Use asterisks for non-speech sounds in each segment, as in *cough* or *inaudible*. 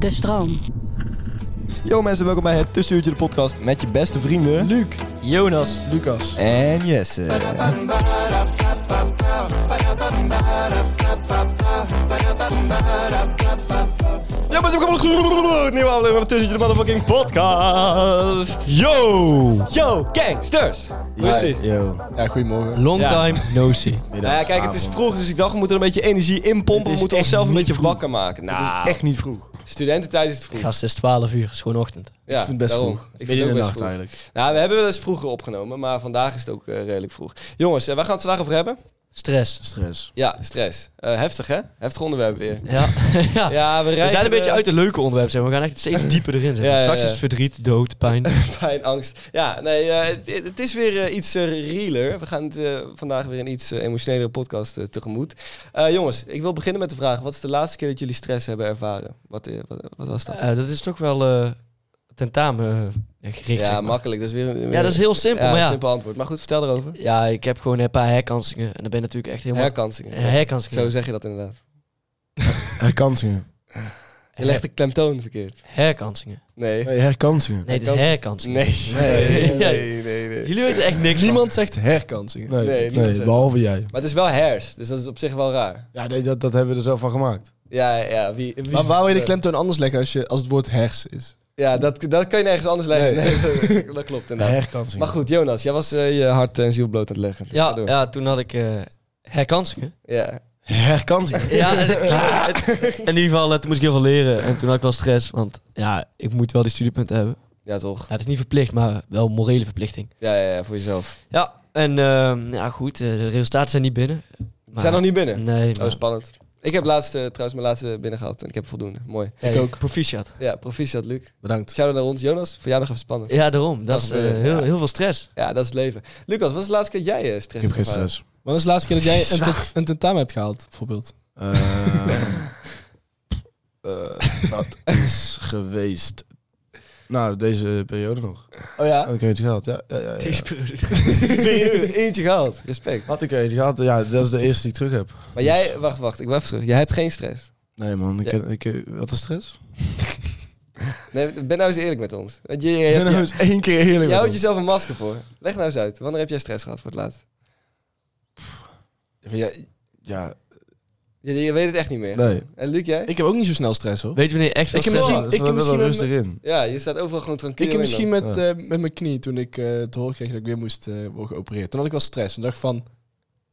De stroom. Yo mensen, welkom bij het Tussenuurtje de podcast met je beste vrienden... Luc, Jonas Lucas. en Jesse. Ja mensen, welkom bij een nieuwe aflevering van het Tussenuurtje de motherfucking podcast. Yo! Yo, gangsters! Hoe is dit? Yo. Ja, goedemorgen. Long Ja. time no see. *laughs* Nou ja, kijk, het is vroeg, dus ik dacht, we moeten er een beetje energie in pompen. We is moeten echt onszelf een niet beetje vroeg. wakker maken. Nou, echt niet vroeg. studententijd is het vroeg. Gast, het is 12 uur. Het is gewoon ochtend. Ja, vind het best daarom. vroeg. Ik vind het ook best vroeg. eigenlijk. Nou, we hebben wel eens vroeger opgenomen, maar vandaag is het ook eh, redelijk vroeg. Jongens, eh, waar gaan we het vandaag over hebben? Stress. Stress. Ja, stress. Eh, heftig, hè? Heftig onderwerp weer. Ja. ja. Ja, we, We rijden zijn een beetje er- uit de leuke onderwerpen. Zeg maar. *laughs* We gaan echt steeds dieper erin. Zeg maar. Ja, ja, Straks ja. is het verdriet, dood, pijn. Pijn, angst. Ja, nee, eh, het, het is weer eh, iets eh, realer. We gaan het, eh, vandaag weer een iets eh, emotionelere podcast eh, tegemoet. Eh, jongens, ik wil beginnen met de vraag. Wat is de laatste keer dat jullie stress hebben ervaren? Wat, eh, wat, wat was dat? *laughs* Eh, dat is toch wel eh, tentamen eh, gericht. ja, zeg maar. makkelijk. Dat is weer, een- Ja, dat is heel simpel. ja, maar ja. simpel antwoord. Maar goed, vertel erover. ja, ik heb gewoon een paar herkansingen. En dan ben je natuurlijk echt helemaal... Eh, Herkansingen. herkansingen. Zo zeg je dat inderdaad. Herkansingen. Je legt de klemtoon verkeerd. herkansingen. Nee. Nee, herkansingen. Nee, het is Herkansingen. herkansingen. Nee. Nee. nee, nee. Jullie weten echt niks Niemand zegt herkansingen. Nee, Nee, nee, niemand zegt- behalve jij. Maar het is wel hairs, dus dat is op zich wel raar. Ja, nee, dat, dat hebben we er zelf van gemaakt. Ja, ja, wie... wie Maar waar wil je de klemtoon anders leggen als, je, als het woord hers is? Ja, dat, dat kan je nergens anders leggen. Nee. *laughs* Nee. dat klopt Ja, inderdaad. herkansingen. Maar goed, Jonas, jij was eh, je hart en ziel bloot aan het leggen. Dus van. ga Ja, door. ja, toen had ik eh, herkansingen. ja. Herkansingen. *laughs* Ja, en het- het- in ieder geval, eh, toen moest ik heel veel leren. En toen had ik wel stress, want ja, ik moet wel die studiepunten hebben. Ja, toch? Ja, het is niet verplicht, maar wel een morele verplichting. Ja, ja, ja, voor jezelf. Ja, en ehm, ja, goed, eh, de resultaten zijn niet binnen. We zijn nog niet binnen. Nee, Oh, maar, spannend. Ik heb laatste, trouwens mijn laatste binnen gehad en ik heb voldoende. Mooi. hey, Ik ook. Proficiat. Ja, proficiat, Luc. Bedankt. Shout-out naar ons. Jonas, voor jou nog even spannend. Ja, daarom. Dat Dat is eh, gebeuren, heel, ja. heel veel stress. Ja, dat is het leven. Lucas, wat is de laatste keer dat jij eh, Ik stress heb geen ervaren? stress. Wanneer is de laatste keer dat jij een, te- een tentamen hebt gehaald, bijvoorbeeld? Ehm, *laughs* eh, dat is geweest... Nou, deze periode nog. Oh ja? Had ik er eentje gehad, ja. ja, ja, ja. *laughs* *laughs* Eentje gehaald. Oh Respect. Had ik er eentje gehad, ja, dat is de eerste die ik terug heb. Maar jij, wacht, wacht. Ik wil even terug. Jij hebt geen stress. Nee man, ik, Ja. ik, ik- wat is stress? Nee, ben nou eens eerlijk met ons. Want je, je, Ik *laughs* ben je- nou eens één keer eerlijk met jij houdt ons. jezelf een masker voor. Leg nou eens uit. Wanneer heb jij stress gehad voor het laatst? Ja, Ja, Je, je weet het echt niet meer. nee. En Luc, jij? ik heb ook niet zo snel stress hoor. Weet je wanneer je echt veel Ik heb stress misschien- hebt? ik heb misschien wel rustig in. Ja, je staat overal gewoon tranquil Ik heb in misschien dan. met, eh, met mijn knie, toen ik eh te horen kreeg dat ik weer moest eh, worden geopereerd. Toen had ik wel stress. Toen dacht ik van,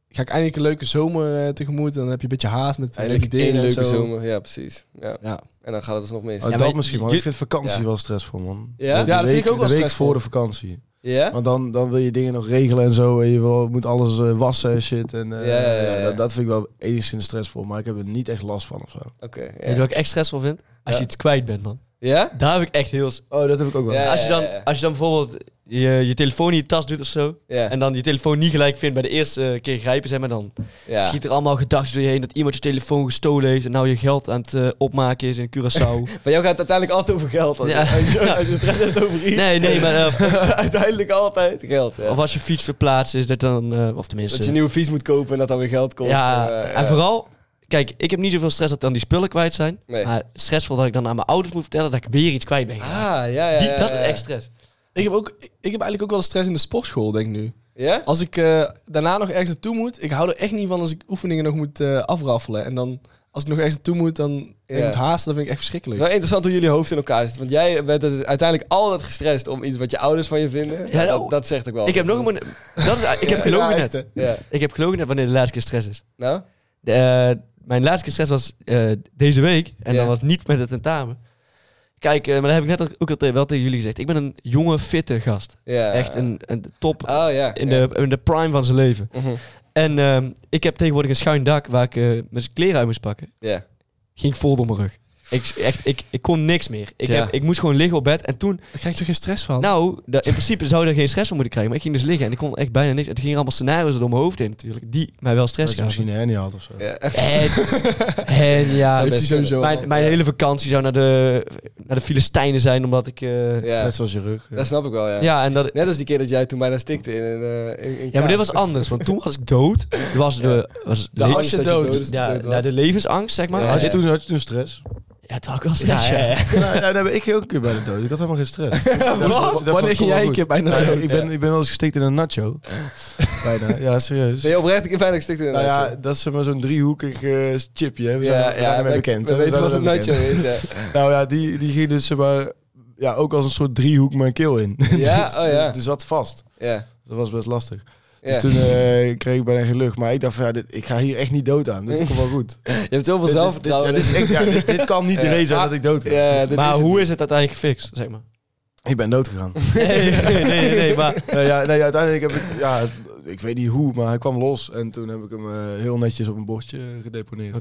ga ik eindelijk een leuke zomer eh, tegemoet? En dan heb je een beetje haast met Eigenlijk leuke één dingen en leuke zo. zomer. Ja, precies. Ja. Ja. En dan gaat het dus nog mis. Oh, Ja, dat maar- misschien, man. je- Ik vind vakantie ja. wel stressvol, man. Ja? De Ja, dat vind week- ik ook wel De week stressvol. voor de vakantie. Ja? Want dan, dan wil je dingen nog regelen en zo. En je wil, moet alles eh, wassen en shit. En, eh, Ja, ja, ja, ja. dat, dat vind ik wel enigszins stressvol. Maar ik heb er niet echt last van of zo. Oké. Weet je ja? wat ik echt stressvol vind? Als Ja. je iets kwijt bent, man. Ja? Daar heb ik echt heel... s- Oh, dat heb ik ook wel. Ja. Als je dan, als je dan bijvoorbeeld je, je telefoon in je tas doet of zo... Ja. En dan je telefoon niet gelijk vindt bij de eerste eh, keer grijpen, zeg maar dan. ja. Schiet er allemaal gedachten door je heen dat iemand je telefoon gestolen heeft en nou je geld aan het eh, opmaken is in Curaçao. *laughs* Bij jou gaat het uiteindelijk altijd over geld. Als, Ja. als, je, als je stress hebt over iets. nee, nee, maar eh, *laughs* uiteindelijk altijd geld. Ja. of als je fiets verplaatst is dat dan, eh, of tenminste. dat je een nieuwe fiets moet kopen en dat dan weer geld kost. ja, eh, ja. en vooral, kijk, ik heb niet zoveel stress dat dan die spullen kwijt zijn. Nee. Maar stressvol dat ik dan aan mijn ouders moet vertellen dat ik weer iets kwijt ben. Ah, geraakt. ja, ja, ja. Die- dat ja. is echt stress. Ik heb, ook, ik heb eigenlijk ook wel stress in de sportschool, denk ik nu. Ja? Als ik eh, daarna nog ergens naartoe moet, ik hou er echt niet van als ik oefeningen nog moet eh, afraffelen. En dan, als ik nog ergens naartoe moet, dan En Ja. Ik moet haasten, dat vind ik echt Het verschrikkelijk. is wel interessant hoe jullie hoofd in elkaar zit. Want jij bent dus uiteindelijk altijd gestrest om iets wat je ouders van je vinden. Ja, dat, nou, dat zegt ook wel. Ik heb nog een... moment- Dat is, ik heb gelogen Ja, echt, net. hè. *laughs* Ja. Ik heb gelogen net wanneer de laatste keer stress is. Nou? De, eh, mijn laatste keer stress was eh, deze week. En Ja. dat was niet met het tentamen. Kijk, eh, maar dat heb ik net al- ook al te- wel tegen jullie gezegd. Ik ben een jonge, fitte gast. Ja. Echt een, een top Oh ja. in, ja. de, in de prime van zijn leven. Mhm. En ehm, ik heb tegenwoordig een schuin dak waar ik eh, mijn kleren uit moest pakken. Ja. Ging ik vol door mijn rug. Ik, echt, ik, ik kon niks meer. Ik, Ja. heb, ik moest gewoon liggen op bed. En toen, Daar krijg je toch geen stress van? nou, da- in principe zou je er geen stress van moeten krijgen. Maar ik ging dus liggen en ik kon echt bijna niks. Het gingen allemaal scenario's door mijn hoofd heen natuurlijk. Die mij wel Dat stress je gaven. misschien een hernie had of zo. Ja. *laughs* En, en ja, dus Zo heeft hij best sowieso mijn, al. mijn Ja. hele vakantie zou naar de, naar de Filistijnen zijn. Omdat ik... eh, ja. Ja. Net zoals je rug. Ja. Dat snap ik wel, ja. en dat... Net als die keer dat jij toen bijna stikte in een... eh, in- in Ja, maar kaart. dit was anders, want toen was ik dood. Toen Was de, was De angst dat je dood, Ja, is- dood was. ja, de levensangst, zeg maar. Ja, Ja, Had, je ja. toen, had je toen stress? ja toen had ik wel stress, ja. nou, nou, nou ben ik ook een keer bijna dood. Ik had helemaal geen stress. Dat was- dat was- dat Wanneer was ging wel jij een goed. keer bijna Nou, *laughs* dood? ik, ben, ik ben wel eens gestikt in een nacho. bijna. Ja, serieus. *laughs* Ben je oprecht een keer bijna gestikt in een Nou nacho? ja, dat is zeg maar zo'n driehoekig eh, chipje. Hè. We zijn, we zijn ermee we- bekend. We hè. weten zijn wat een ermee nacho bekend. is, ja. *laughs* Nou ja, die, die ging dus zeg maar, ja, ook als een soort driehoek mijn keel in. *laughs* Ja, Dus- oh ja. Dus zat vast. Ja. Dat was best lastig. ja. Dus toen eh, kreeg ik bijna geen lucht. Maar ik dacht van, ja, dit, ik ga hier echt niet dood aan. Dus het komt wel *laughs* goed. je hebt zoveel Dit is- zelfvertrouwen. dus. Dit, is- ja, dit, is echt- ja, dit, dit kan niet *laughs* de Ja. Ah. reden zijn dat ik dood ga. Ja, ja, dit Maar is- hoe is het uiteindelijk gefixt, zeg maar? Ik ben *laughs* dood gegaan. Nee, nee, nee, nee, maar... nou ja, nou ja, uiteindelijk heb ik, ja, ik weet niet hoe, maar hij kwam los. En toen heb ik hem eh, heel netjes op een bordje eh, gedeponeerd.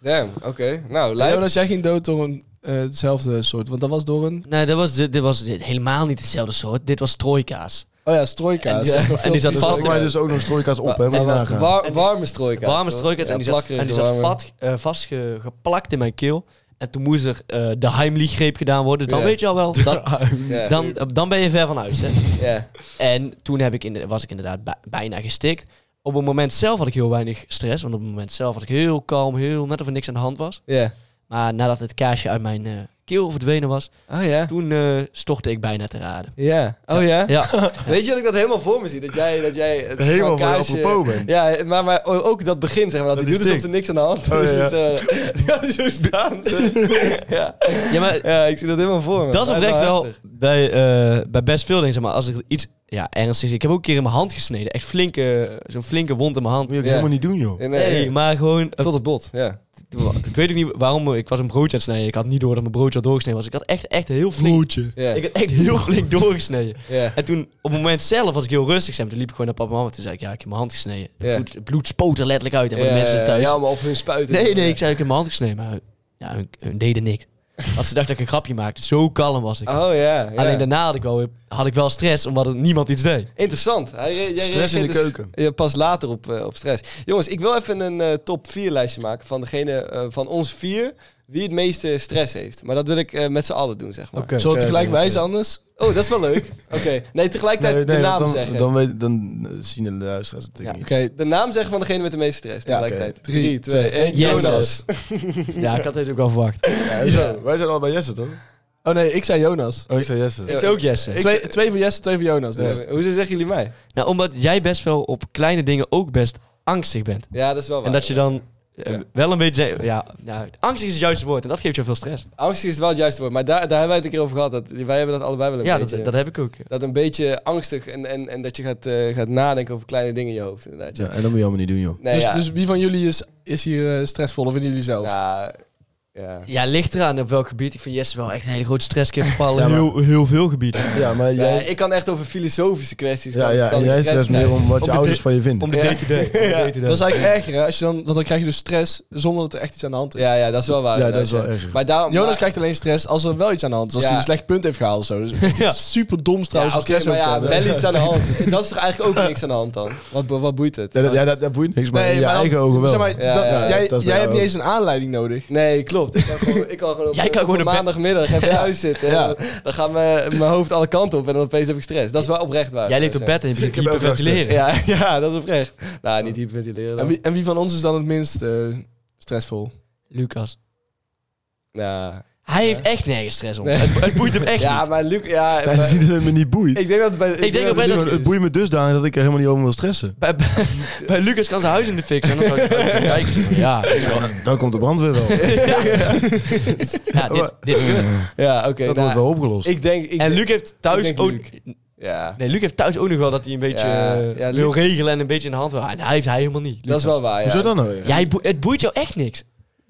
Damn, oké. Nou, Ja, maar lijkt... als jij ging dood door een eh, hetzelfde soort, want dat was door een... Nee, dit was, dit, dit was dit- helemaal niet hetzelfde soort. Dit was trooikaas. Oh ja, strooikaas. En- Dat is nog en veel die zat Dus viezer. vast volgens in- mij dus ook nog strooikaas op, maar hè? Moet je wacht, nagaan. war- warme strooikaas. Warme toch? strooikaas. Ja, en die zat, plakkerige, en die zat warme. vat, eh, vastgeplakt in mijn keel. En toen moest er eh, de Heimlich-greep gedaan worden. Dus dan Ja. weet je al wel... Dan, Ja. dan, dan ben je ver van huis, hè. *laughs* Ja. En toen heb ik in, was ik inderdaad bij- bijna gestikt. Op het moment zelf had ik heel weinig stress. Want op het moment zelf was ik heel kalm, heel net of er niks aan de hand was. Ja. Maar nadat het kaasje uit mijn eh, keel verdwenen was, Oh ja. toen eh, stortte ik bijna te *laughs* raden. Ja. Oh ja. Ja, Weet je dat ik dat helemaal voor me zie? Dat jij, dat jij het Helemaal voor kaasje- apropos bent. Ja, maar, maar ook dat begin, zeg maar. Dat, Dat hij die doet alsof er stikt. niks aan de hand is. Oh, ja, ja. Dus, *laughs* ja, die zo staan. *laughs* ja. ja maar ja, ik zie dat helemaal voor me. nou, dat is Lijkt me oprecht wel heftig. bij, eh, bij best veel dingen. Zeg maar, als ik iets ja, ernstig Ik heb ook een keer in mijn hand gesneden. Echt flinke, zo'n flinke wond in mijn hand. Moet je ook Ja. helemaal niet doen, joh. Nee, Nee, nee. maar gewoon... eh, Tot het bot, ja. Ik weet ook niet waarom. Ik was een broodje aan het snijden. Ik had niet door dat mijn broodje al doorgesneden was. Ik had echt, echt heel flink... Broodje. Ja. Ik had echt heel flink doorgesneden. ja. En toen, op het moment zelf, was ik heel rustig. Zeg maar, toen liep ik gewoon naar papa en mama. Toen zei ik, ja, ik heb mijn hand gesneden. Het Ja. bloed, het bloed spoot er letterlijk uit. En voor de Ja, mensen ja, thuis. Ja, maar op hun spuiten. nee, nee, ik zei, ik heb mijn hand gesneden. Maar ja, hun, hun deden *laughs* niks. Als ze dachten dat ik een grapje maakte. Zo kalm was ik. Oh ja. ja. Alleen daarna had ik, wel, weer- had ik wel stress, omdat er niemand iets deed. Interessant. Hij, re- jij Stress reageert in de dus- keuken. Ja, pas later op, eh, op stress. Jongens, ik wil even een eh, top 4 lijstje maken van degene eh, van ons vier wie het meeste stress heeft. Maar dat wil ik eh, met z'n allen doen, zeg maar. Oké. Zullen we tegelijk Oké, oké. wijzen anders? Oh, dat is wel leuk. Oké. Nee, tegelijkertijd Nee, nee, de naam want dan, zeggen. dan, weet, dan eh, zien de luisteraars het natuurlijk Oké, niet. De naam zeggen van degene met de meeste stress. Ja, oké. tegelijkertijd. Drie, twee, twee, één. één. Yes. *laughs* Jonas. Ja, ik had deze ook al verwacht. Ja, zo. Wij zijn allebei Jesse, toch? Oh nee, ik zei Jonas. Oh, ik zei Jesse. Ja. is ook Jesse. Ik- Twee, twee voor Jesse, twee voor Jonas. Dus. Ja, Hoezo zeggen jullie mij? Nou, omdat jij best wel op kleine dingen ook best angstig bent. Ja, dat is wel waar. En dat je dan eh, Ja. wel een beetje... Ja, nou, angstig is het juiste woord. En dat geeft je veel stress. Angst is wel het juiste woord. Maar daar, daar hebben wij het een keer over gehad. Dat, wij hebben dat allebei wel een Ja, beetje. dat, dat heb ik ook. ja. Dat een beetje angstig en, en, en dat je gaat, eh, gaat nadenken over kleine dingen in je hoofd. Inderdaad. Ja, en dat moet je allemaal niet doen, joh. Nee, dus, ja. dus wie van jullie is, is hier eh, stressvol of vinden jullie zelf? ja, ja. Ja, ligt eraan op welk gebied. Ik vind Jesse wel echt een hele grote stresskip Ja, vallen. maar- heel, heel veel gebieden. Ja, maar Ja, jij... ik kan echt over filosofische kwesties. Ja, kan- ja, kan en ik jij stress stress meer krijgen. om wat Om je de ouders de- van je vinden. Om de Ja. day-to-day. om de Ja. day-to-day. Dat is eigenlijk erger, hè? Als je dan, want dan krijg je dus stress zonder dat er echt iets aan de hand is. Ja, ja, dat is wel waar. Ja, dat is inderdaad, wel erg. Maar daarom, Jonas maar- krijgt alleen stress als er wel iets aan de hand is. Als Ja. hij een slecht punt heeft gehaald of zo. Dus het Ja. is super dom trouwens ja, om oké, stress maar over ja, te hebben. wel iets aan de hand. *laughs* dat is toch eigenlijk ook niks aan de hand dan? Wat, bo- wat boeit het? Ja, dat, ja, dat, dat boeit niks, maar in je dan- eigen ogen wel. Zeg maar, Ja, dat- ja, ja, jij dat is bij jij jou hebt niet ook. eens een aanleiding nodig. Nee, klopt. Ik kan gewoon, ik kan gewoon op, Jij kan op gewoon op bed- maandagmiddag even thuis zitten. en Ja. dan- Dan gaan mijn, mijn hoofd alle kanten op en dan opeens heb ik stress. Dat is wel oprecht waar. Jij ligt op bed en je Ik begint heb ook hyperventileren. Ja. Ja, ja, *laughs* dat is oprecht. Nou, niet hyperventileren. En dan. wie, en wie van ons is dan het minst eh, stressvol? Lucas. Ja, Hij heeft echt nergens stress om. Het, het boeit hem echt Ja, niet. maar Luc... Ja, Ja, maar- het is niet dat het me niet boeit. ik denk dat... het Bij, denk dat bij het, dat- is gewoon- het boeit me dusdanig dat ik er helemaal niet over wil *laughs* stressen. Bij, bij, bij Lucas kan zijn huis in de fik zijn. Dan zou ik kijken. Ja, Dan komt de brandweer wel. ja dit, dit is kut. Ja, oké. nou, dat wordt wel opgelost. Ik denk... Ik En denk- Luc heeft thuis denk ook... Luc. Ja. Nee, Luc heeft thuis ook nog wel dat hij een beetje Ja, eh, ja, wil Luc- regelen en een beetje in de hand wil. Ah, dat heeft hij helemaal niet. Dat is wel waar, ja. Hoezo dan nou? weer? Jij, het boeit jou echt niks.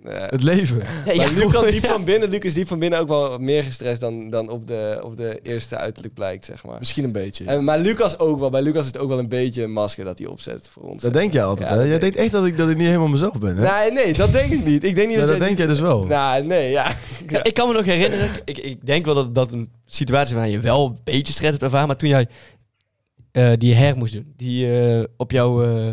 Nee. Het leven. Ja, Maar ja, *laughs* Luc kan ja. diep van binnen, Luc is diep van binnen ook wel meer gestrest dan, dan op, de, op de eerste uiterlijk blijkt, zeg maar. Misschien een beetje. En, maar Lucas ook wel. Bij Lucas is het ook wel een beetje een masker dat hij opzet voor ons. Dat denk jij altijd. Ja, hè? dat Jij denk denkt echt dat ik, dat ik niet helemaal mezelf ben. Hè? Nee, nee, dat denk ik niet. Ik denk niet Ja, dat, dat jij... denk jij dus wel. Nou, nee, ja. Ja, ik kan me nog herinneren, ik, ik denk wel dat dat een situatie waarin je wel een beetje stress hebt ervaren, maar toen jij eh, die her moest doen, die eh, op jouw eh,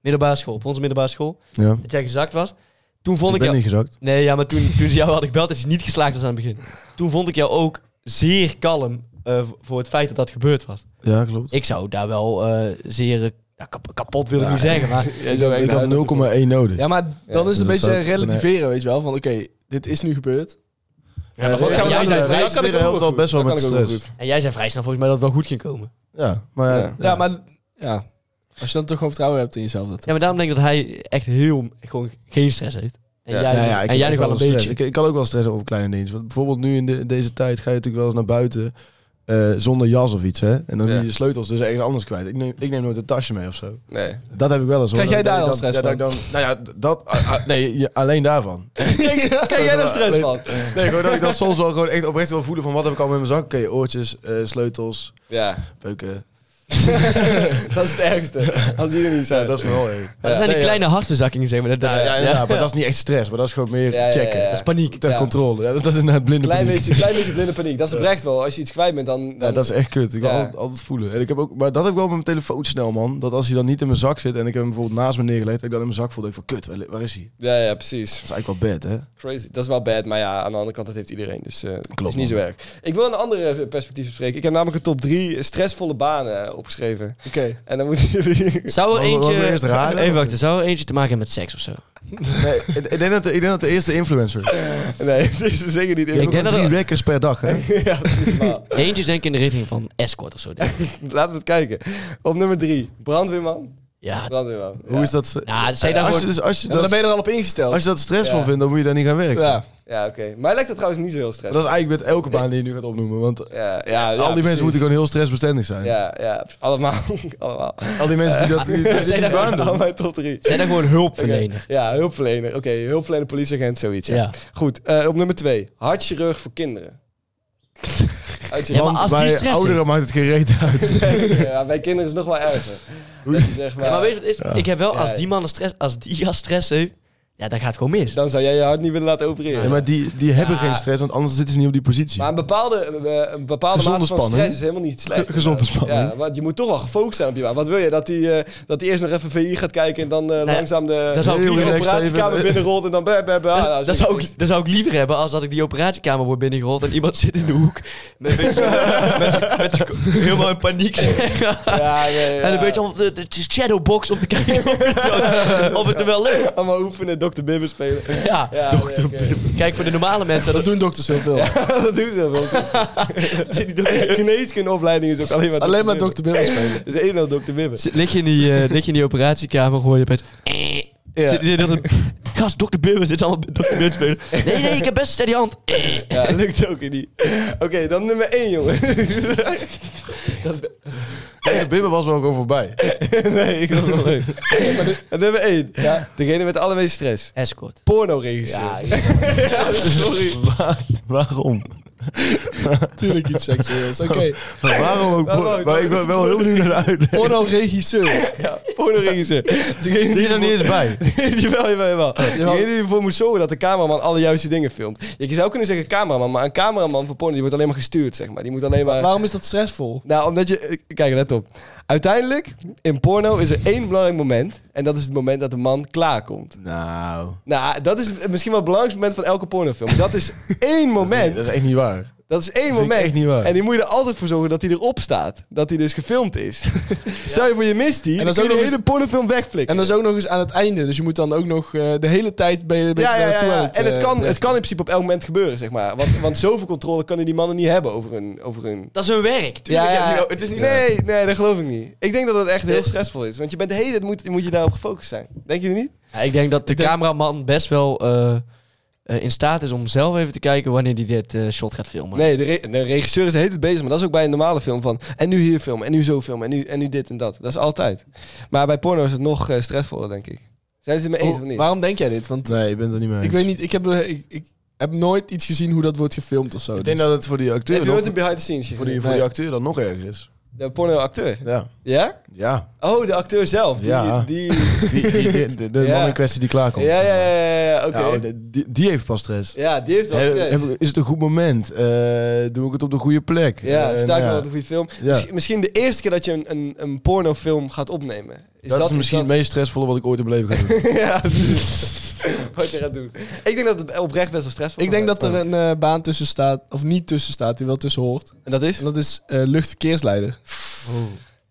middelbare school, op onze middelbare school, Ja. dat jij gezakt was, toen vond Ik ik, ben jou... niet gezakt. Nee, ja, maar toen, toen ze jou hadden gebeld dat je niet geslaagd was aan het begin, toen vond ik jou ook zeer kalm eh, voor het feit dat dat gebeurd was. Ja, klopt. Ik, Ik zou daar wel eh, zeer eh, nou, kap- kapot willen niet zeggen, maar had 0,1 nodig. ja, maar dan is het een dus dat beetje zou- relativeren, weet je wel. Van oké, dit is nu gebeurd. Ja, wat gaan we ja, nou doen? ja, Vrij- ja, dat kan ik ook helpt wel best wel Dat met kan ik ook stress. En jij zei vrij snel volgens mij dat het wel goed ging komen. Ja, maar Ja. ja. ja, maar ja. als je dan toch gewoon vertrouwen hebt in jezelf. Dat, Ja, maar daarom denk ik dat hij echt heel gewoon geen stress heeft. En Ja. jij, Ja, ja, ik en jij nog heb wel een ook stress. beetje. Ik, ik kan ook wel stress op kleine dingen. Want bijvoorbeeld nu in de- deze tijd ga je natuurlijk wel eens naar buiten eh, zonder jas of iets. Hè? En Ja. dan ben je je sleutels dus ergens anders kwijt. Ik neem, ik neem nooit een tasje mee of zo. Nee. Dat heb ik wel eens. hoor. Krijg jij Dat- daar dat al ik dan- stress ja, dat ik dan, nou ja, dat... ah, ah, nee, je- alleen daarvan. Krijg jij daar stress *laughs* van? Nee, gewoon dat ik dat soms wel gewoon echt oprecht wil voelen van wat heb ik al met mijn zak. Oké, oortjes, eh, sleutels, Ja, peuken. *laughs* dat is het ergste. Als jullie er niet Ja, zijn. dat is vooral erg. Maar dat zijn die Nee, kleine hartverzakkingen, zeg maar. Dat, Ja, daar- ja, ja. inderdaad, maar dat is niet echt stress, maar dat is gewoon meer Ja, ja, ja, checken. ja. Dat is paniek. Ter Ja. controle. Ja, dat is inderdaad blinde Klein paniek. beetje, klein beetje blinde paniek. Dat is oprecht wel. Als je iets kwijt bent, dan... dan *laughs* Ja, dat is echt kut. Ik wil Ja. altijd, altijd voelen. En ik heb ook, maar dat heb ik wel met mijn telefoon snel, man. Dat als hij dan niet in mijn zak zit en ik heb hem bijvoorbeeld naast me neergelegd, dat ik dan in mijn zak voel, denk ik van, kut, waar, waar is hij? Dat ja, ja, precies. is eigenlijk wel bad, hè? Crazy. Dat is wel bad, maar ja, aan de andere kant, dat heeft iedereen. Dus eh is niet man. zo erg. Ik wil een andere eh, perspectief bespreken. Ik heb namelijk een top drie stressvolle banen eh, opgeschreven. Oké. En dan moeten jullie... *laughs* Zou er Mogen we- eentje... mogen we eerst raden? Even wachten. Zou er eentje te maken hebben met seks of zo? Nee, *laughs* ik, ik denk dat de, ik denk dat de eerste influencer. Nee, *laughs* deze zeker niet. ik denk dat dat drie er- wekkers per dag, hè? *laughs* Ja, dat is niet normaal. Eentje is denk ik in de richting van escort of zo. denk ik. Laten we het kijken. Op nummer drie, brandweerman. Ja. Brandweerman. Hoe is dat? eh, Nou, dat zijn dan als, je, gewoon- dus als, je Ja, maar dan dat, ben je er al op ingesteld. als je dat stressvol Ja. vindt, dan moet je daar niet gaan werken. ja. Ja, oké. Mij lijkt dat trouwens niet zo heel Maar stressvol. Dat is eigenlijk met elke baan die je nu gaat opnoemen. Want al Ja, ja, ja, die mensen precies. moeten gewoon heel stressbestendig zijn. Ja, ja, allemaal. *laughs* allemaal. Al die mensen die *laughs* dat die, die- die baan doen. Allemaal mijn top drie. Zijn dan gewoon Oké. hulpverlener. Ja, hulpverlener. Oké, hulpverlener, politieagent, zoiets. Ja. Ja. Goed, eh, op nummer twee, hartchirurg voor *laughs* kinderen. Uit je Ja, hand- maar als die Bij stress heeft- ouderen maakt het gereed uit. *laughs* *laughs* ja, bij kinderen is het nog wel erger. Dat je zegt, maar, Ja, maar weet je wat het is? Ik heb wel, als Ja. die man een stress... Als die gast stress heeft... Ja, dan gaat het gewoon mis. dan zou jij je hart niet willen laten opereren. Ja, maar die, die hebben geen stress, want anders zitten ze niet op die positie. Maar een bepaalde, eh, een bepaalde Gezonde mate van spanning. stress is helemaal niet slecht. Gezonde spanning. Ja, want je moet toch wel gefocust zijn op je baan. Wat wil je? Dat hij eh, dat die eerst nog even VI gaat kijken en dan eh, ja, langzaam de, dat zou ik de liever relaxed operatiekamer even- binnenrolt en dan... Bah, bah, bah, Dat, nou, dat, zo- zou ik, dat zou ik liever hebben als dat ik die operatiekamer word binnengerold en iemand zit in de hoek met een beetje, met z'n- met z'n- helemaal in paniek Ja, nee, ja. En een beetje om de, de shadowbox om te kijken of *laughs* het, of het er wel lukt. Allemaal oefenen, Dr. Bibber spelen. *laughs* Ja. Ja, Dokter nee, oké. Pim. Kijk, voor de normale mensen, Dat dat doen dokters heel veel. *laughs* dat doet ze wel. *laughs* *laughs* Geneeskundeopleiding is ook alleen maar Alleen maar Bibber. Dr. Bill spelen. *laughs* Het is één al Dr. Bibber. Zit- lig, je in die, eh, lig je in die operatiekamer, hoor je opeens... Ja. Zit, zit er een, gast, dokter Bim zit allemaal dokter Bim spelen. Nee, nee, ik heb best een steady hand. Ja, lukt ook in die. Oké, dan nummer één, *laughs* jongen. *laughs* Deze bibber was wel ook al voorbij. nee, ik vond het wel leuk. En nummer één. Degene met de allermeeste stress. Escort. Porno *laughs* regisseur. Ja, sorry. Waarom? Tuurlijk iets *laughs* seksueels. Oké. Maar *laughs* waarom ook? Waarom ook? maar ik ben wel heel benieuwd naar de uitleg. Porno regisseur. Ja, porno *laughs* regisseur. Dus Degene Die is er niet eens bij. jawel, jawel, jawel. Degene die ervoor moet zorgen dat de cameraman alle juiste dingen filmt. Je zou kunnen zeggen cameraman, maar een cameraman voor porno die wordt alleen maar gestuurd, zeg maar. Die moet alleen maar... Waarom is dat stressvol? Nou, omdat je... Kijk, let op. Uiteindelijk, in porno is er één belangrijk moment. En dat is het moment dat de man klaarkomt. Nou, *laughs* Nou, dat is misschien wel het belangrijkste moment van elke pornofilm. Dat is één moment. dat is echt niet waar. Dat is één vind ik moment. echt niet waar. En die moet je er altijd voor zorgen dat hij erop staat. Dat hij dus gefilmd *laughs* is. Stel je voor, je mist die. En dan, dat kun is je ook de nog hele pornofilm wegflikken. En dat is ook nog eens aan het einde. Dus je moet dan ook nog eh, de hele tijd ben je een beetje ja, ja, ja, naartoe ja. aan het, en het eh, kan, het werken. kan in principe op elk moment gebeuren, zeg maar. Want, want zoveel controle kunnen die mannen niet hebben over hun... Over hun... Dat is hun werk. Tuurlijk, ja, Het is niet... nee, nee, dat geloof ik niet. Ik denk dat dat echt heel stressvol is. Want je bent de hele tijd moet, moet je daarop gefocust zijn. Denk je niet? Ja, ik denk dat de cameraman best wel eh, eh, in staat is om zelf even te kijken wanneer hij dit eh, shot gaat filmen. Nee, de, re- de regisseur is de hele tijd bezig. Maar dat is ook bij een normale film van... En nu hier filmen, en nu zo filmen, en nu, en nu dit en dat. Dat is altijd. Maar bij porno is het nog eh, stressvoller, denk ik. Zijn ze het mee Oh, eens of niet? Waarom denk jij dit? Want Nee, ik ben het er niet mee ik weet niet, ik heb, eh, ik, ik heb nooit iets gezien hoe dat wordt gefilmd of zo. dus- Ik denk dat het voor die acteur Heb je nog, nooit een behind the scenes voor die, voor die acteur dan nog erger is. De porno-acteur. Ja. Ja? Ja. Oh, de acteur zelf. Die, Ja. Die, Die, die- die- de *laughs* de Ja. man in kwestie die klaarkomt. ja, ja, ja, ja, ja, oké. Ja, oh, de- die, die heeft pas stress. Ja, die heeft wel Heb- stress. heb- is het een goed moment? Eh, doe ik het op de goede plek? Ja, Eh, sta ik nou wel ja. op een goede film. Ja. Misschien, misschien de eerste keer dat je een, een, een pornofilm gaat opnemen. Is dat, is misschien dat- het meest stressvolle wat ik ooit in mijn leven ga doen. *laughs* ja, *laughs* wat je gaat doen. Ik denk dat het oprecht best wel stressvol Ik denk gaat dat er een eh, baan tussen staat, of niet tussen staat, die wel tussen hoort. worden. En dat is? En dat is eh, luchtverkeersleider.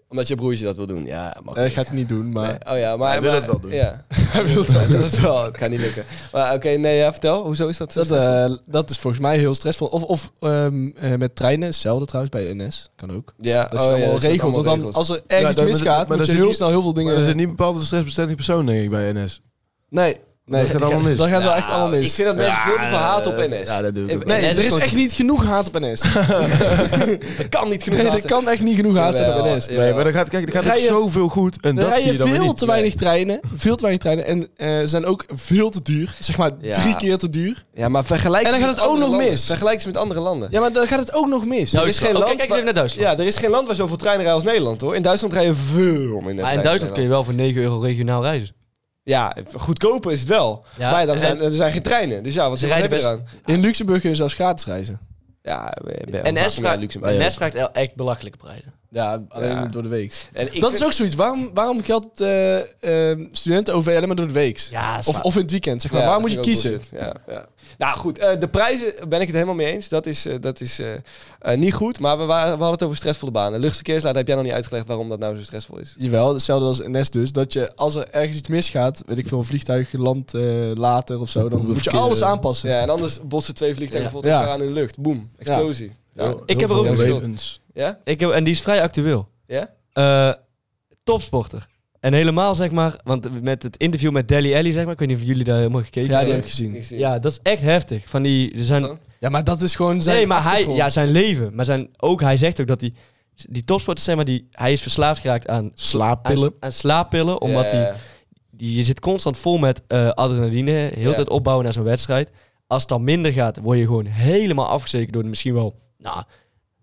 Omdat je broertje dat wil doen. Ja, mag Eh gaat hij niet doen, eh, maar... Nee. Oh ja, maar... Hij wil maar- het wel doen. *laughs* Ja. Hij wil het wel. *laughs* Hij wil het wel. Het kan niet lukken. Maar oké, nee, ja, vertel. Hoezo is dat zo Dat, stressvol? eh, dat is volgens mij heel stressvol. Of, of ehm, eh, met treinen, hetzelfde trouwens bij NS. Kan ook. ja, Dat is allemaal regeld. oh, Want dan, als er Ja, ergens dat- iets maar misgaat, dat- moet maar je dat heel is snel heel veel Maar er dingen... zit niet bepaald een stressbestendig persoon, denk ik, bij NS. Nee, nee. dat gaat allemaal mis. Dat gaat wel echt allemaal Nou, Ik mis. vind dat mensen veel te veel haat op NS. ja, dat doe ik ook Nee, NS is er is gewoon- echt niet genoeg haat *laughs* op NS. dat kan niet genoeg Nee, haat er kan echt niet genoeg haat zijn op Jawel, NS. jawel. Nee, maar dan gaat, kijk, er gaat Rij ook je- zoveel goed en Er dat zie je rijden dan weer veel niet. te weinig treinen. Veel te weinig treinen. En eh, ze zijn ook veel te duur. Zeg maar Ja. drie keer te duur. Ja, maar vergelijk En ze dan gaat met het ook andere nog landen. mis. Vergelijk ze met andere landen. Ja, maar dan gaat het ook nog mis. Nou, Er is geen land Kijk, kijk eens even waar- naar Duitsland. Ja, er is geen land waar zoveel treinen rijden als Nederland, hoor. In Duitsland rijden veel minder maar in Duitsland kun je wel voor 9 euro regionaal reizen. Ja, goedkoper is het wel. Ja, maar ja, dan en- zijn, er zijn geen treinen. Dus ja, wat Ze ze rijden rijden best... eraan? In Luxemburg kun je zelfs gratis reizen. Ja, NS vraagt, Luxemburg. NS vraagt el- echt belachelijke prijzen. Ja, alleen Ja. door de week. En ik dat vind- is ook zoiets. Waarom, waarom geldt eh, eh, studenten-OV alleen maar door de week? Ja, of, of in het weekend, zeg maar. Ja, Waar dat moet je vind ik kiezen? ook bullshit. Ja, ja. Nou goed, eh, de prijzen ben ik het helemaal mee eens. Dat is, eh, dat is eh, eh, niet goed, maar we, waren, we hadden het over stressvolle banen. Luchtverkeersleider heb jij nog niet uitgelegd waarom dat nou zo stressvol is. Jawel, hetzelfde als NS dus. Dat je, als er ergens iets misgaat, weet ik veel, een vliegtuig land eh, later of zo, dan moet je verkeer- alles aanpassen. Ja, en anders botsen twee vliegtuigen Ja. bijvoorbeeld Ja. elkaar in de lucht. Boom, explosie. Ja. Ja. Heel- heel heb er veel ook een schuld. levens. Ja? Ik heb, en die is vrij actueel. Eh, topsporter. En helemaal zeg maar, want met het interview met Deli Alli zeg maar, ik weet niet of jullie daar helemaal gekeken Ja, die hebben. heb ik gezien. Niks zien. Ja, dat is echt heftig. Van die, er zijn, Wat dan? Ja, maar dat is gewoon zijn nee, maar hij, achtergrond. ja, zijn leven. Maar zijn, ook, hij zegt ook dat die, die topsporters zeg maar, die, hij is verslaafd geraakt aan, Slaappillen. aan, aan slaappillen. Ja. Omdat die, die, je zit constant vol met eh, adrenaline, heel Ja. de tijd opbouwen naar zo'n wedstrijd. Als het dan minder gaat, word je gewoon helemaal afgezekerd door misschien wel, nou,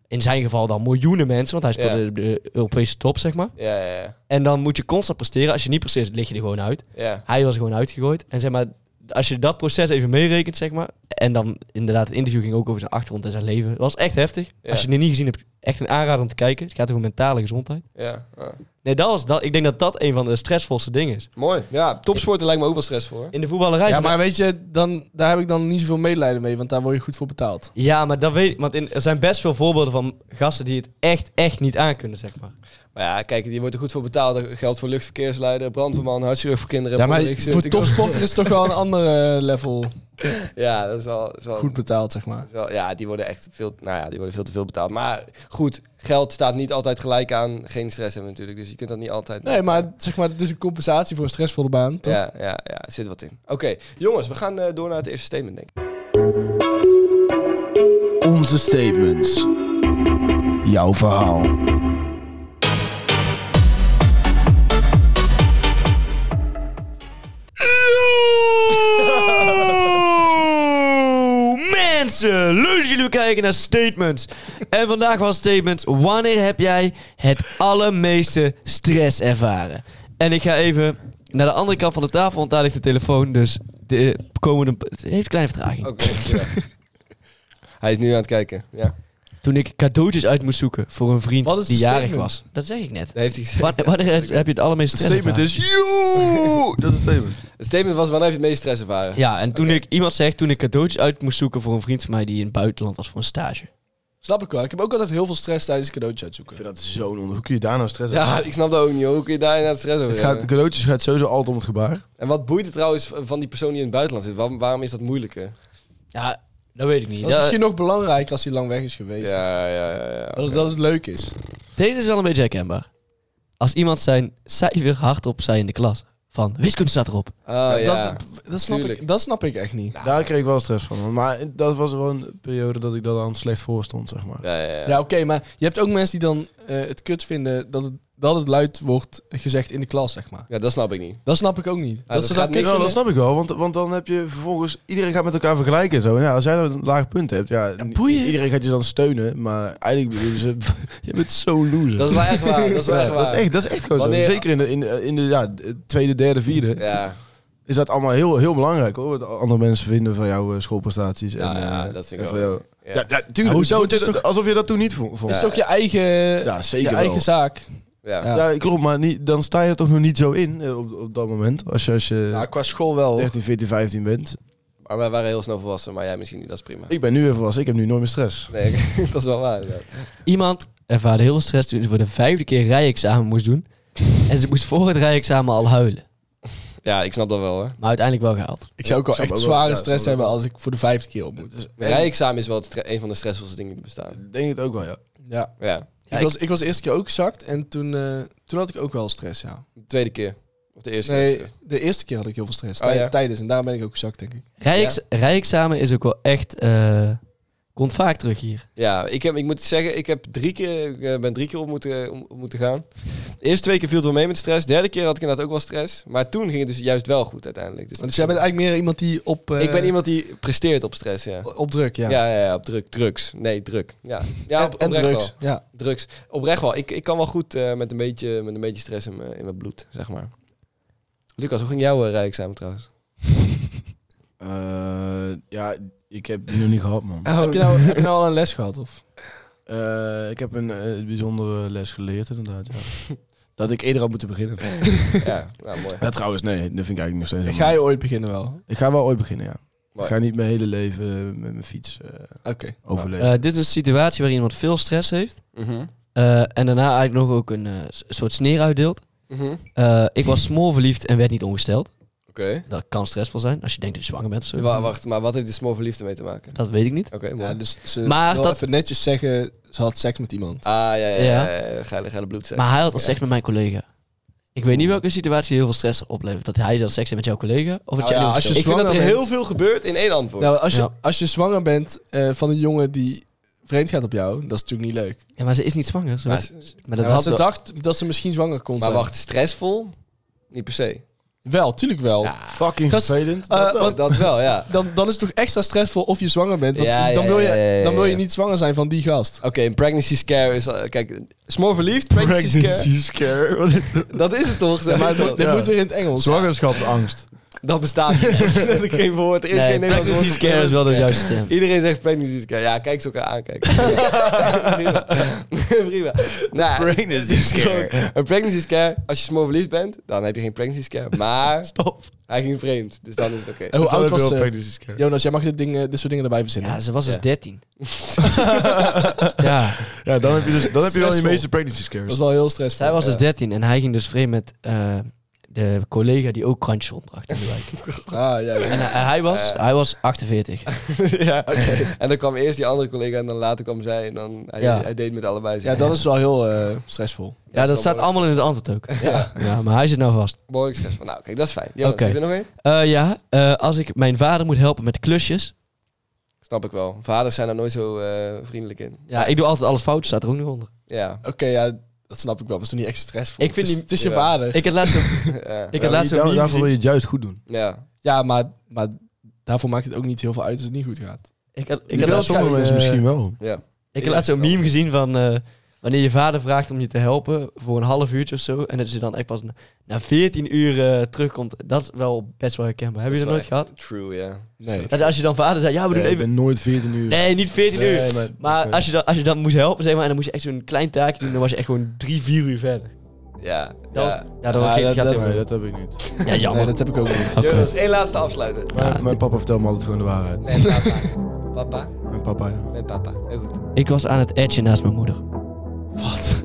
in zijn geval dan miljoenen mensen. Want hij speelde Ja. op de Europese top, zeg maar. Ja, ja, ja. En dan moet je constant presteren. Als je niet presteert, lig je er gewoon uit. ja. Hij was er gewoon uitgegooid. En zeg maar, als je dat proces even meerekent, zeg maar. En dan inderdaad, het interview ging ook over zijn achtergrond en zijn leven. Dat was echt heftig. Ja. Als je het niet gezien hebt, echt een aanrader om te kijken. Het gaat over mentale gezondheid. Ja, ja. Nee, dat was dat. Ik denk dat dat een van de stressvolste dingen is. Mooi. Ja, topsporten lijkt me ook wel stressvol. hoor. In de voetballerij. Ja, zijn- maar weet je, dan, daar heb ik dan niet zoveel medelijden mee, want daar word je goed voor betaald. ja, maar dat weet ik. Want in, er zijn best veel voorbeelden van gasten die het echt, echt niet aankunnen, zeg maar. Maar ja, kijk, je wordt er goed voor betaald. Dat geldt voor luchtverkeersleider, brandweerman, hartstikke voor kinderen. Ja, maar brandweer- voor topsporter is het toch wel een ander eh, level Ja, dat is wel... dat is wel goed betaald, zeg maar. dat is wel- ja, die worden echt veel, nou ja, die worden veel te veel betaald. Maar goed, geld staat niet altijd gelijk aan geen stress hebben natuurlijk. Dus je kunt dat niet altijd... Nee, maar zeg maar, het is een compensatie voor een stressvolle baan, toch? Ja, ja, ja, er zit wat in. Oké, jongens, we gaan eh, door naar het eerste statement, denk ik. Onze statements. Jouw verhaal. Yo, mensen, leuk dat jullie weer kijken naar Statements. En vandaag was Statements, wanneer heb jij het allermeeste stress ervaren? En ik ga even naar de andere kant van de tafel, want daar ligt de telefoon. Dus de komende... Het heeft een kleine vertraging. Oké. ja. *laughs* Hij is nu aan het kijken. Ja, dat Toen ik cadeautjes uit moest zoeken voor een vriend Wat is die het jarig statement? was. Dat zeg ik *laughs* net. heeft hij gezegd. Wa- Wanneer heb je het allermeeste Het stress statement ervaren? is... *laughs* Joe! Dat is het statement. Het statement was, wanneer heb je het meest stress ervaren? Ja, en toen ik iemand zegt, toen ik cadeautjes uit moest zoeken voor een vriend van mij die in het buitenland was voor een stage. Snap ik wel. Ik heb ook altijd heel veel stress tijdens cadeautjes uitzoeken. vind dat zo'n onder. Hoe kun je daar nou stress Ja, ik snap dat ook niet. hoor. Hoe kun je daar inderdaad stress over Het gaat, de hebben? cadeautjes gaat sowieso altijd om het gebaar. En wat boeit het trouwens van die persoon die in het buitenland zit? Waarom, waarom is dat moeilijker? Ja, dat weet ik niet. Dat is misschien nog belangrijker als hij lang weg is geweest. Ja, ja, ja. ja. Dat, het- dat het leuk is. Deze is wel een beetje herkenbaar. Als iemand zijn cijfer hardop zei in de klas. Van, wiskunde staat erop. Ah, ja. Dat, dat, snap Tuurlijk. ik, dat snap ik echt niet. Daar kreeg ik wel stress van. Maar dat was wel een periode dat ik daar dan slecht voor stond, zeg maar. ja, ja, ja. Ja, oké, maar je hebt ook mensen die dan eh, het kut vinden dat het, dat het luid wordt gezegd in de klas, zeg maar. Ja, dat snap ik niet. Dat snap ik ook niet. dat dat ze gaat dan niet niks Ja, in dat de- snap ik wel, want, want dan heb je vervolgens... Iedereen gaat met elkaar vergelijken en zo. En ja, als jij dan een laag punt hebt, ja, boeien. iedereen gaat je dan steunen. Maar eigenlijk bedoel je, ze- *laughs* je bent zo loser. Dat is wel echt waar. Dat is wel Ja, echt waar. dat is echt, dat is echt gewoon Wanneer- zo. Zeker in de, in, de- in de ja, de tweede, derde, vierde Ja, is dat allemaal heel, heel belangrijk hoor. Wat andere mensen vinden van jouw eh, schoolprestaties. Ja, en, ja, eh, dat vind en ik van ook. jou- Ja. Ja, ja, tuurlijk. Ja, hoezo? Het Het is voelt- toch- Alsof je dat toen niet vo- Het vond. is Ja, toch je eigen, Ja, zeker je wel. eigen zaak. ja. Ja. klopt, maar niet, dan sta je er toch nog niet zo in eh, op, op dat moment. Als je, als je qua school wel. 13, 14, 15 bent. Maar wij waren heel snel volwassen, maar jij misschien niet. Dat is prima. Ik ben nu even was, ik heb nu nooit meer stress. Nee, *laughs* dat is wel waar. inderdaad. Iemand ervaarde heel veel stress toen ze voor de vijfde keer rijexamen moest *laughs* doen. en ze moest voor het rijexamen al huilen. Ja, ik snap dat wel hoor. Maar uiteindelijk wel gehaald. Ik zou ook wel snap echt ook wel, zware ja, stress snap ik hebben wel. als ik voor de vijfde keer op moet. Rijexamen is wel het stre- een van de stressvolste dingen die bestaan. Ik Denk het ook wel, ja. Ja. Ja, Ja, ik, ik- was, ik was de eerste keer ook gezakt en toen, eh, toen had ik ook wel stress, ja. de tweede keer. Of de eerste Nee, keer. de eerste keer had ik heel veel stress. Oh, tij- ja. Tijdens, en daarom ben ik ook gezakt, denk ik. Rijx, Rijexamen is ook wel echt... eh komt vaak terug hier. Ja, ik, heb, ik moet zeggen, ik heb drie keer, ik eh, ben drie keer op moeten, om, op moeten gaan. De eerste twee keer viel het wel mee met stress. Derde keer had ik inderdaad ook wel stress. Maar toen ging het dus juist wel goed uiteindelijk. Dus Dus jij bent eigenlijk meer iemand die op, eh, ik ben iemand die presteert op stress, ja. op druk, ja. Ja, ja, ja, op druk, drugs. Nee, druk. Ja, ja En- op, en oprecht drugs. wel. Ja. Drugs. Oprecht wel. Ik, ik kan wel goed eh, met, een beetje, met een beetje stress in mijn in mijn bloed, zeg maar. Lucas, hoe ging jouw uh, rijexamen trouwens? Eh, ja, ik heb die nog niet gehad, *laughs* man. Heb, je nou, heb je nou al een les gehad? Of? Eh, ik heb een eh, bijzondere les geleerd, inderdaad. Ja. dat ik eerder had moeten beginnen. ja, nou, mooi. Ja, trouwens, nee, dat vind ik eigenlijk nog steeds. Ga helemaal je niet. ooit beginnen wel? Ik ga wel ooit beginnen, ja. Mooi. Ik ga niet mijn hele leven eh, met mijn fiets eh, Oké. overleven. Eh, dit is een situatie waarin iemand veel stress heeft. Mhm. eh, en daarna eigenlijk nog ook een eh, s- soort sneer uitdeelt. Mhm. Oké. Eh, ik was smoorverliefd en werd niet ongesteld. Dat kan stressvol zijn als je denkt dat je zwanger bent. of zo. Wa- wacht, maar wat heeft de small verliefde mee te maken? Dat weet ik niet. Oké, mooi. Ja, dus ze Maar wil dat- even netjes zeggen, ze had seks met iemand. Ah, ja, ja, ja. Ja. ja. Geile, geile bloedzak. Maar hij had al Ja. seks met mijn collega. Ik weet niet welke situatie heel veel stress oplevert. Dat hij dan seks heeft met jouw collega. Of dat Nou jij ja, niet als je ongesteld Ik vind dat er zwanger heel bent. veel gebeurt in één antwoord. Nou, als je, Ja. als je zwanger bent eh, van een jongen die vreemd gaat op jou, dat is natuurlijk niet leuk. bent. Ja, maar ze is niet zwanger. Ze Maar werd- ze- maar dat Dat had ze wel- dacht dat ze misschien zwanger kon maar zijn. wacht, stressvol? Niet per se. Wel, tuurlijk wel. Fucking Gast, vervelend. eh, Dat wel. want- Dat wel, ja. Dan, dan is het toch extra stressvol of je zwanger bent. Want Ja, dan, ja, wil je, ja, ja, ja, dan wil je ja. niet zwanger zijn van die gast. Oké, een pregnancy scare is... eh, kijk, smoor verliefd, pregnancy, Pregnancy scare. Wat is dat? scare. Dat is het toch? Zeg maar maar, het moet- dit Ja. moet weer in het Engels. Zwangerschapsangst. dat bestaat niet. Dat is letterlijk geen woord. Er is geen Nee, Nederlands pregnancy woord. scare is wel de juiste term. Iedereen zegt pregnancy scare. Ja, kijk ze elkaar aan. Kijk. *laughs* Prima. Prima. Nou, *laughs* Pregnancy scare. Een pregnancy scare, als je smoor verliefd bent, dan heb je geen pregnancy scare. Maar Stop. hij ging vreemd, dus dan is het oké. En hoe oud was ze? Pregnancy scare. Jonas, jij mag dit, ding, eh, dit soort dingen erbij verzinnen. *laughs* Ja, ze was dus 13. ja, Ja, dan heb je, dus, dan heb je wel je Stressvol. meeste pregnancy dat was scares. wel heel stressvol. zij was dus Ja. 13 en hij ging dus vreemd met eh, de collega die ook krantjes rondbracht in de wijk. Ah, juist. en eh, hij, was, hij was 48. *laughs* ja. En dan kwam eerst die andere collega en dan later kwam zij en dan hij, Ja. hij deed met allebei. zeg Ja, maar. dat is wel heel eh, stressvol. Ja, dat wel staat mooi. allemaal in het antwoord ook. Ja. maar hij zit nou vast. behoorlijk stress van. Nou, kijk, dat is fijn. Jonas, Oké. heb je er nog één? Eh, ja, eh, als ik mijn vader moet helpen met klusjes. Snap ik wel. Vaders zijn daar nooit zo eh, vriendelijk in. Ja, ik doe altijd alles fout, staat er ook nog onder. Ja. Oké, ja, dat snap ik wel. Maar het is toch niet echt stressvol? Ik vind het is, die- het is je ja. vader. Ik had laatst een, ja. *laughs* ik Dus- Ja, had maar die- laatst een daar- Daarvoor meme wil gezien. je het juist goed doen. ja. Ja, maar, maar daarvoor maakt het ook niet heel veel uit als het niet goed gaat. Ik had, ik Ik had wil laatst sommige zo'n, mensen eh, misschien wel. ja. Ik had laatst zo'n meme gezien van... eh, wanneer je vader vraagt om je te helpen voor een half uurtje of zo... en dat je dan echt pas na, na 14 uur eh, terugkomt... dat is wel best wel herkenbaar. Heb je dat nooit gehad? True, ja. Nee. Dat als je dan vader zei... Ja, we doen Nee, Eh, ik even... ben nooit 14 uur. Nee, niet 14 uur. Nee, maar- Maar oké. als, je dan, als je dan moest helpen, zeg maar... en dan moest je echt zo'n klein taakje doen... dan was je echt gewoon 3, 4 uur verder. Ja. Dat ja. was- ja, dan Ja, ging dat- gaat dat- helemaal Nee, niet. dat heb ik niet. Ja, jammer. Nee, dat heb ik ook niet. Oké. Jonas, één laatste afsluiten. Mijn- Mijn papa vertelt me altijd gewoon de waarheid. Nee, laat maar. Papa. Mijn papa, ja. Met papa. Heel goed. Ik was aan het edgen naast mijn moeder. Wat?